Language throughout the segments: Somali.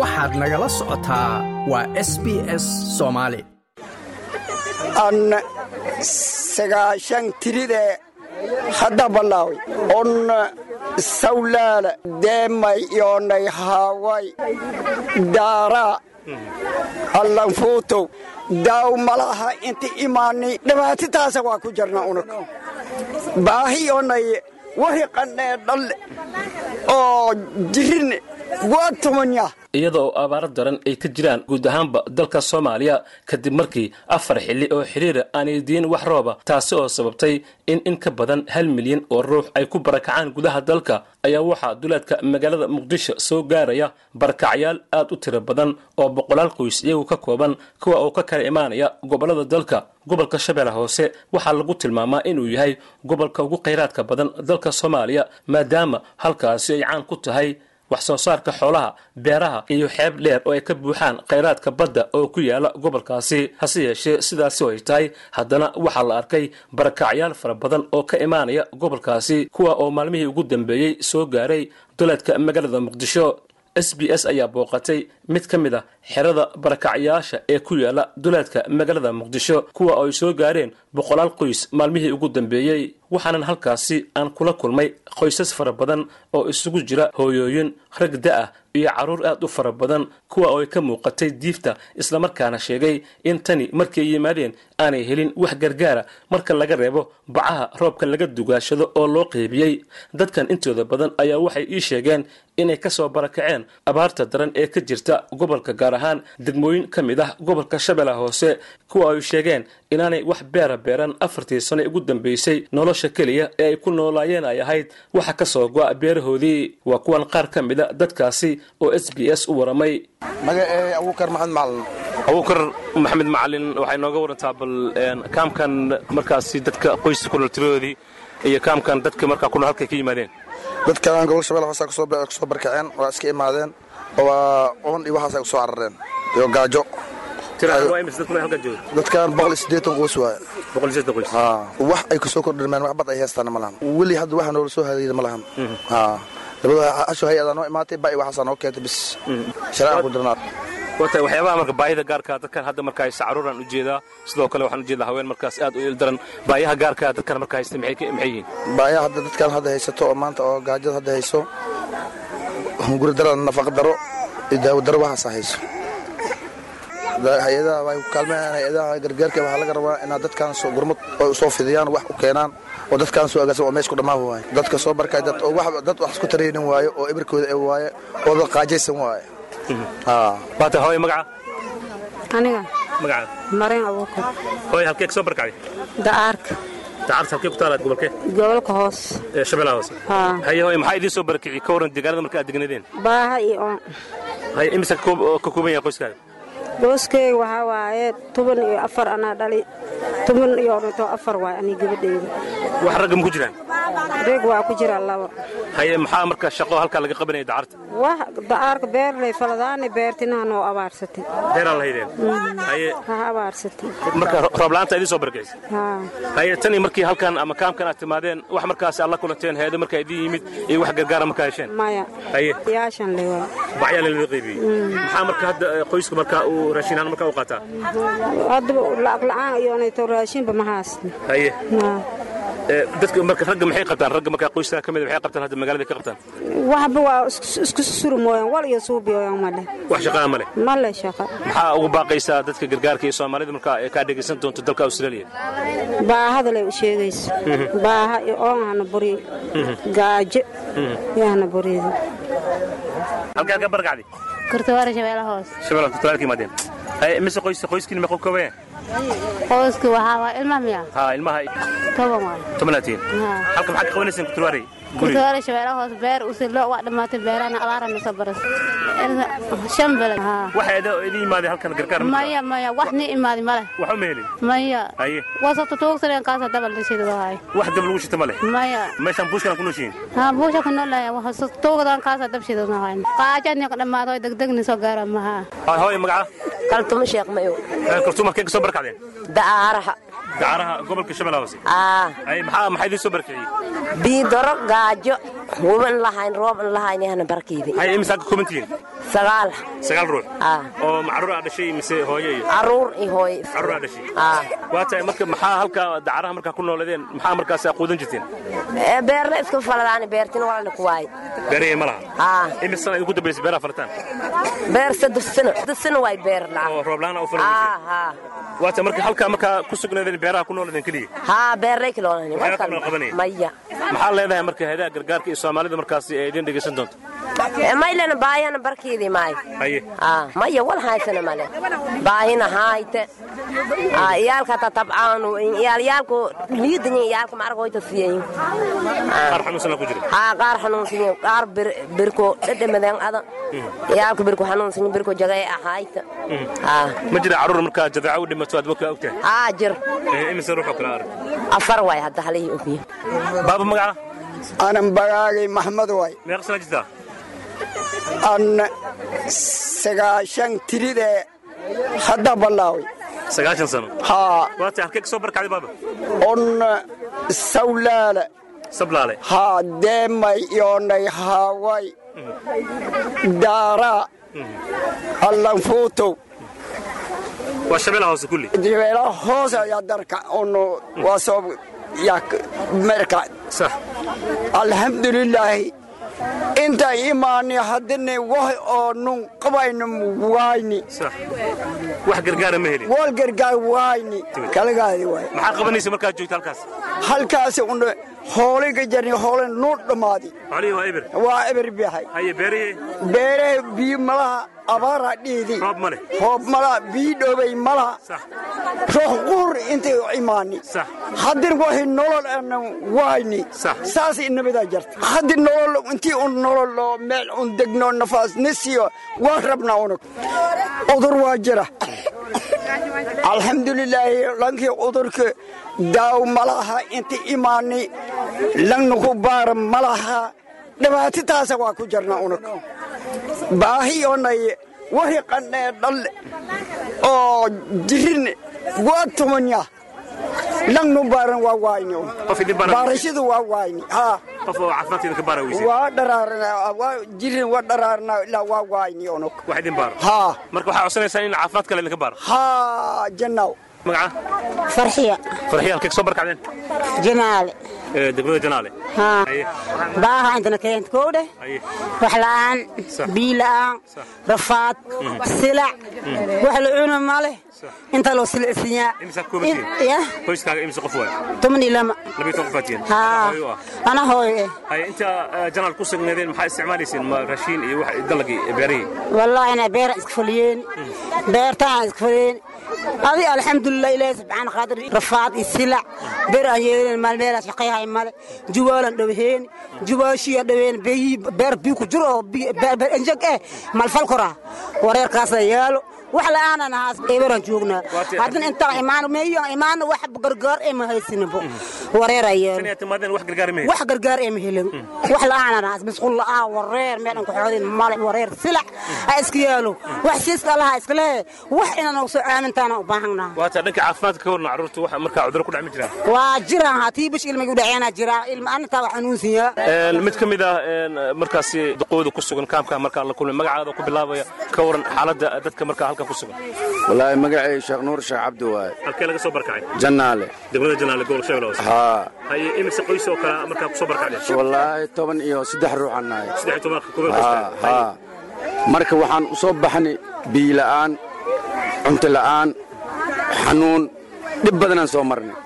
waxaad nagala socotaa waa s b s soomaali aan sagaashan tiridee hadda ballaawi on sawlaala deemay yoonay haaway daaraa allanfuutow daaw malaha inti imaani dhibaatitaasa waa ku jirna unug baahi yoonay wariqannee dhalle oo jirin iyadoo abaaro daran ay ka jiraan guud ahaanba dalka soomaaliya kadib markii afar xilli oo xiriira aanay diin wax rooba taasi oo sababtay in in ka badan hal milyan oo ruux ay ku barakacaan gudaha dalka ayaa waxaa dulaadka magaalada muqdisho soo gaaraya barakacyaal aad u tiro badan oo boqolaal qoys iyagu ka kooban kuwa oo ka kala imaanaya gobollada dalka gobolka shabeelle hoose waxaa lagu tilmaamaa inuu yahay gobolka ugu khayraadka badan dalka soomaaliya maadaama halkaasi ay caan ku tahay wax soo saarka xoolaha beeraha iyo xeeb dheer oo ay ka buuxaan khayraadka badda oo ku yaala gobolkaasi hase yeeshee sidaasi oo ay tahay haddana waxaa la arkay barakacyaal fara badan oo ka imaanaya gobolkaasi kuwa oo maalmihii ugu dambeeyey soo gaaray duleedka magaalada muqdisho s b s ayaa booqatay mid ka mid ah xerada barakacyaasha ee ku yaala duleedka magaalada muqdisho kuwa oo ay soo gaareen boqolaal qoys maalmihii ugu dambeeyey waxaanan halkaasi aan kula kulmay qoysas fara badan oo isugu jira hooyooyin rag da-ah iyo carruur aad u fara badan kuwa oo ay ka muuqatay diifta islamarkaana sheegay in tani markii ay yimaadeen aanay helin wax gargaara marka laga reebo bacaha roobka laga dugaashado oo loo qeybiyey dadkan intooda badan ayaa waxay ii sheegeen inay ka soo barakaceen abaarta daran ee ka jirta gobolka gaar ahaan degmooyin ka mid ah gobolka shabeelle hoose kuwa ay sheegeen inaanay wax beera beeraan afartii sane ugu dambeysay nolosha keliya ee ay ku noolaayeen ay ahayd waxa ka soo go'a beerahoodii waa kuwan qaar ka mid a dadkaasi oo s b s u waramay abukar maxamed macalin abuukar maxamed macalin waxay nooga warantaa bal kaamkan markaasi dadka qoyska ku nool tiradoodii iyo kaamkan dadka markaa kunol halkay ka yimaadeen dadkan gobol shabelle hoose kusoo barkaceen waa iska imaadeen waa oon iyo waxaas ay usoo carareen iyo gaajo dadkan qoswaaywax ay kusoo kordhirmeen wax bad ay heestaan malahan weli hadda waxa noola soo hadayda malahan dabadasho hay-adaa noo imaatay ba waxaasaa noo keentay bis sharaca ku dirnaa wata waxyaabaha marka baahida gaarka ah, dadkan hadda marka haysta caruuraan ujeedaa sidoo kale waxaan ujeedaa haween markaas aad u ildaran baayaha gaarka ah, dadkan marka haysta maxay yihiin baayaha hadda dadkan hadda haysato oo maanta oo gaajada hadda hayso hunguri daro nafaqa daro iyo daawo daro waxaasaa hayso hay-adaha way ku kaalmeyaan hay-adaha gargaarka waxaa laga rabaa inaa dadkan gurmad oo soo fidiyaan wax u keenaan oo dadkaan soo agaasan oo meesku dhammaan waaye dadka soo barkay dad oo dad wax isku taraynin waaye oo ebarkooda ee waaye oo dad qaajaysan waaye Mhm. baata hooy magaca aniga magacaada mareen abuukar hooy halkee ka soo barkacday dacaarka dacaarta halkee ku taalaad gobolkee gobolka hoose ee shabeellaha hoose haye hooy maxaa idiin soo barakiciyey ka warran deegaanada marka aad deganadeen baaha iyo oon haye imisa ka kooban yahay qoyskaaga booskeyga waxaa waaye toban iyo afar anaa dhali toban iyo dhintoo afar waay anii gabadhayda wax ragga ma ku jiraan reeg waa ku jira laba haye maxaa marka shaqo halkaa laga qabanaya dacarta wax dacaarka beerley faladaani beertinaha noo abaarsatay beeraa la haydeen haye ha abaarsatay marka roobla'aanta idiin soo barkaysa haa haye tani markii halkan ama kaamkan aad timaadeen wax markaasi aad la kulanteen heedo markaa idiin yimid iyo wax gargaara markaa hesheen maya haye yaashan le waa bacyaa lalaga qaybiyey maxaa marka hadda qoyska markaa uu raashin ahaan markaa u qaataa haddaba lacag la'aan iyoonayto raashinba ma haasna haye eh, haa dadka marka ragga maxay qabtaan ragga markaa qoyska ka mid ah maxay qabtaan hadda magaalada ka qabtaan waxba waa isku- isku suri mooyaan wal iyo suubi ooyaan ma leh wax shaqaa ma leh ma leh shaqo maxaa ugu baaqaysaa dadka gargaarka iyo soomaalida markaa ee kaa dhegaysan doonto dalka australia baahada lay u sheegayso baaha iyo oon hana buri gaajo iyo hana burida halkee halkaa barkacdi kurtawaara shabeelle hoos shabeelaan tutaalka imaadeen haye mise qoyska qoyskiin maxuu koobaya qoyska waxaa waa ilma miya haa ilmaha toban waay tobanaad tihiin Haa. halka maxaa ka qabanaysaan kutulwaarey guriga kurtawaara shabeelle hoos beer usilo waa dhammaatay beerana abaarana soo baras shan beled Haa. waxa ada idin imaaday halkan gargaar ma maya maya wax ni imaadi male wax uma helin maya haye waa sabta tuugsadeen kaasa dabal dhashida waay wax dab lagu shita ma leh maya meeshaan buushkan ku nooshiin haa buusha ku noolaya waa sabta tuugdan kaasa dabshida waay qaajadni dhammaado ay degdegni soo gaara maha hooy magaca kaltuma sheekh mayo Eh, kartuum halkee ka soo barkacdeen da'aaraha dacaraha gobolka shabeellaha hoose aa haye maxaa maxaa idiin soo barkiciyey biidoro gaajo wuban lahayn rooban lahayn yahna barkiibi haye imisaa ka kooban tihiin sagaal sagaal ruux Ah. oo macruur aa dhashay mise hooyo iyo caruur iyo hooy carruur aa dhashay Ah. waa tahay marka maxaa halkaa dacaraha markaa ku nooladeen maxaa markaas aa quudan jirteen Ee, Eh, beerna iska faladaani beertin walana ku waay beerahee ma laha Ah. imis sana idinku dambaysa beeraha falataan beer saddex sano saddex sano waay beer oo lacag roob la-aan aa u haa falan haa waa tahay marka halkaa markaa ku sugnaadeen beeraha ku nooladeen keliya haa beerlay kiloonani Waxyaaba kale oo qabanaya. maya maxaa leedahay marka hayadaha gargaarka iyo soomaalida markaasi ay idin dhegaysan doonto Ee, maylana baayana barkeedii maay haye aa maya wal haysana male baahina haayte aa iyaalka ta tabcaanu iyaal iyaalku niidini iyaalka margoyta siyayin qaar xanuunsan aa ku jira haa qaar xanuunsan yihiin qaar bir birko dhadhamadeen ada iyaalka birku xanuunsan yihiin, birko jagay ahaayta haa ma jira carruur markaa jadeeca u dhimato aad wakaa ogtahay haa jir Eh, imise ruux oo kale arag afar waay hadda halihii ogiye baaba magaca anan bagaagay maxmed waay meeqa sana jirtaa aan sagaashan tiridee hadda ballaaway sagaashan sano haa waa tahay halkee ka soo barkacday baaba on sawlaala sablaale haa deemay yoonay haaway daaraa allanfuutow waa shabeela hoose kulli dibeelo hoos ayaa darka ono waa soo yak merka sax alxamdulilaahi inta imaani haddini wax oonun qabaynu waayni sax wax gargaara ma helin wal gargaar waayni kalagaadi waay maxaa qabanaysa markaad joogta halkaas halkaasi un hooliga jarni hoolen nuu dhammaadi xolihii waa eber waa eber bixay haye beerihii beeraha biyo malaha abaara dhiidi roob ma leh hoob malaha biyo dhoobay malaha sax roox quhur intay u imaani Sax. haddin waxay nolol aanan waayni Sax. saasay nabadaa jarta haddi nolol intii un nolol oo meel un degno nafaas nasiyo waan rabnaa unug cudur waa jira alxamdulilaahi lankii cudurka daaw ma laha inta imaani lannaku baara ma laha dhibaatitaasa waa ku jarnaa unug baahiyoonay wari qandhee dhal oo jirin waa tumanya langnu baaran waa waayni un qof idin bara baarashadu waa waayni haa qof oo caafimaadka idinka baara weyse waa dharaarnaa waa jirin waa dharaarnaa ilaa waa waayni unug wax idin baaro haa marka waxaa codsanaysaa in caafimaad kale idinka baaro haa janaaw magaca farxiya farxiya halkee ka soo barkacdeen jamaale Eh, degmada janaale haa haye baaha intana keent kowdhe haye wax la'aan Sax. biyo la'aan Sax. rafaad silac wax la cuno ma leh Sax. inta loo silcisiyaa imisa koobantiin qoyskaaga imisa qof waay toban iyo lama laba iyo toban qof baad tihiin haa Hooyo ah. ana hooyo eh haye inta eh, janaal ku sugnaadeen maxaa isticmaalayseen ma raashiin iyo wax dalagii eh, beerihii والله أنا بير إسكفليين بير تاع إسكفليين هذه الحمد لله إله سبحانه قادر رفعت السلع بير أيين مال بير شقيها مال جوالا دوهين جواشي دوهين بي بير بيكو جرو بي بير بير إنجك إيه مال فالكرة ورير كاسا يالو وحلا أنا ناس إبرة جوجنا هذن أنت إيمان ميو إيمان واحد بقرقر إيه ما هي سنبو ورير أيين inay timaadeen wax gargaar ma helin wax gargaar ee mahelin wax la'aana naas masquul la'aan wareer meelan ku xoodin male wareer silac ha iska yaalo wax siiska allaha iska leeyahay wax inaan ugu soo caanintaana u baahannaha waata dhanka caafimaadka ka warna carruurta waxa markaa cudurro ku dhacmi jiraan waa jiraan hatii bish ilmay u dhaceena jiraa ilma anintaa waa xanuunsiyaa mid ka mid ah een, markaasi duqooda ku sugan kaamka markaa la kulmay magacaada ku bilaabaya ka waran xaaladda dadka markaa halkan ku sugan wallaahi magacay sheekh nuur sheekh cabdi waaye halkee laga soo barkacay jannaale degmada janaale gobolka shabeelle hoose haa haye imise qoys oo kale markaa ku soo barkacdeen wallaahi toban iyo saddex ruuxaan nahay saddex iyo tobanka kubeel haa haa marka waxaan u soo baxnay biyo la'aan cunto la'aan xanuun dhib badanaan soo marnay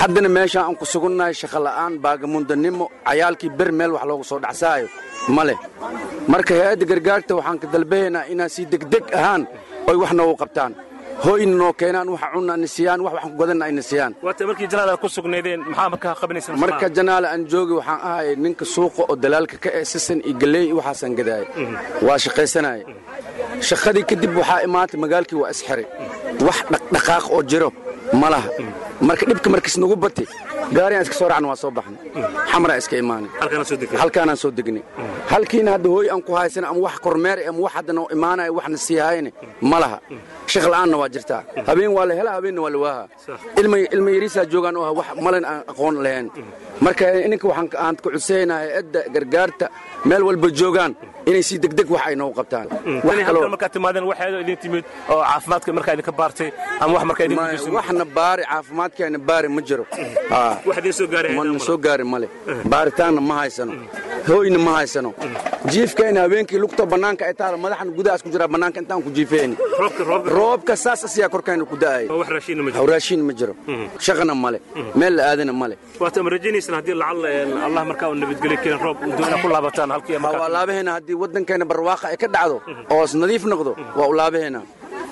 haddana meeshaan aan ku sugunnahay shaqo la'aan baagamundanimo cayaalkii ber meel wax loogu soo dhacsaayo ma leh marka hay-adda gargaarta waxaan ka dalbayaynaa inaan si degdeg ahaan oy wax noogu qabtaan hooyna noo keenaan waxa cunna nisiyaan wax waxaan ku gadanna ay nisiyaan waata markii janaale aad ku sugnaydeen maxaa markaa qabanaysan marka janaale aan joogi waxaan ahay ninka suuqa oo dalaalka ka eesisan iyo galley iyo waxaasaan gadaaya waa shaqaysanaya shaqadii kadib waxaa imaantay magaalkii waa isxiray wax dhaqdhaqaaq oo jiro ma laha marka dhibka markiis nagu batay gaariaan iska soo racna waa soo baxnay xamraa iska imaanay halkaana soo degtay halkaanaan soo degnay halkiina hadda hooy aan ku haysana ama wax kormeer eh, ama wax hadda noo imaanaya eh, waxna sii haayana ma laha shaq la'aanna waa jirtaa habeen waa la helaa habeenna waa la waaha ilma ilma yariisaa joogaan oo ah wax malin aan aqoon lahayn marka eh, ininka waxaan aan ku codseynaya edda gargaarta meel walba joogaan inay si degdeg wax ay noo qabtaan Mm. tani halkan markaad timaadeen waxaadoo idin timid oo caafimaadka markaa idinka baartay ama wax markaa idin Ma- waxna baari caafimaadkeena baari ma jiro Ah. wax idin soo gaaray mana soo gaari male Eh. baaritaanna ma haysano hooyna ma haysano Mm. jiifkayna habeenkii lugta bannaanka ay taala madaxna gudahaas ku jiraa bannaanka intaan ku jiifeyn roobka roobka roobka saas asiyaa korkayna ku da'aya oo wax raashiinna ma jiro Mm. hawraashiin ma jiro shaqana male meel la aadana male waata ma rajaynaysaan haddii lacalla een, allah markaa uu nabadgelyo keenin roob uu doona ku laabataan halkii markaa walaabaheenna haddii waddankeena barwaaqa ay ka dhacdo Mm. oos nadiif noqdo waa ulaabaheenna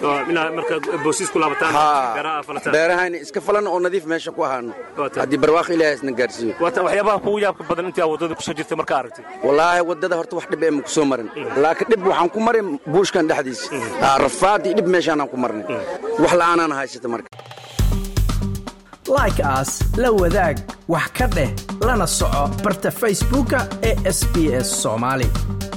oo inaad markaa boosiis ku laabataan beeraha aad falataan beerahayna iska falan oo nadiif meesha ku ahaano Waa tahay. haddii barwaaqa ilaahay isna gaarsiiyo waata waxyaabaha kugu yaabka badan intii aad waddada kusoo jirtay markaa aragtay wallaahi waddada horta wax dhib ee maku soo marin laakiin dhib waxaan ku marin buushkan dhexdiisa Ah, rafaad iyo dhib meeshaanaan ku marnay wax la'aanaan haysata marka like aas la wadaag wax ka dheh lana soco barta facebooka ee sbs soomaali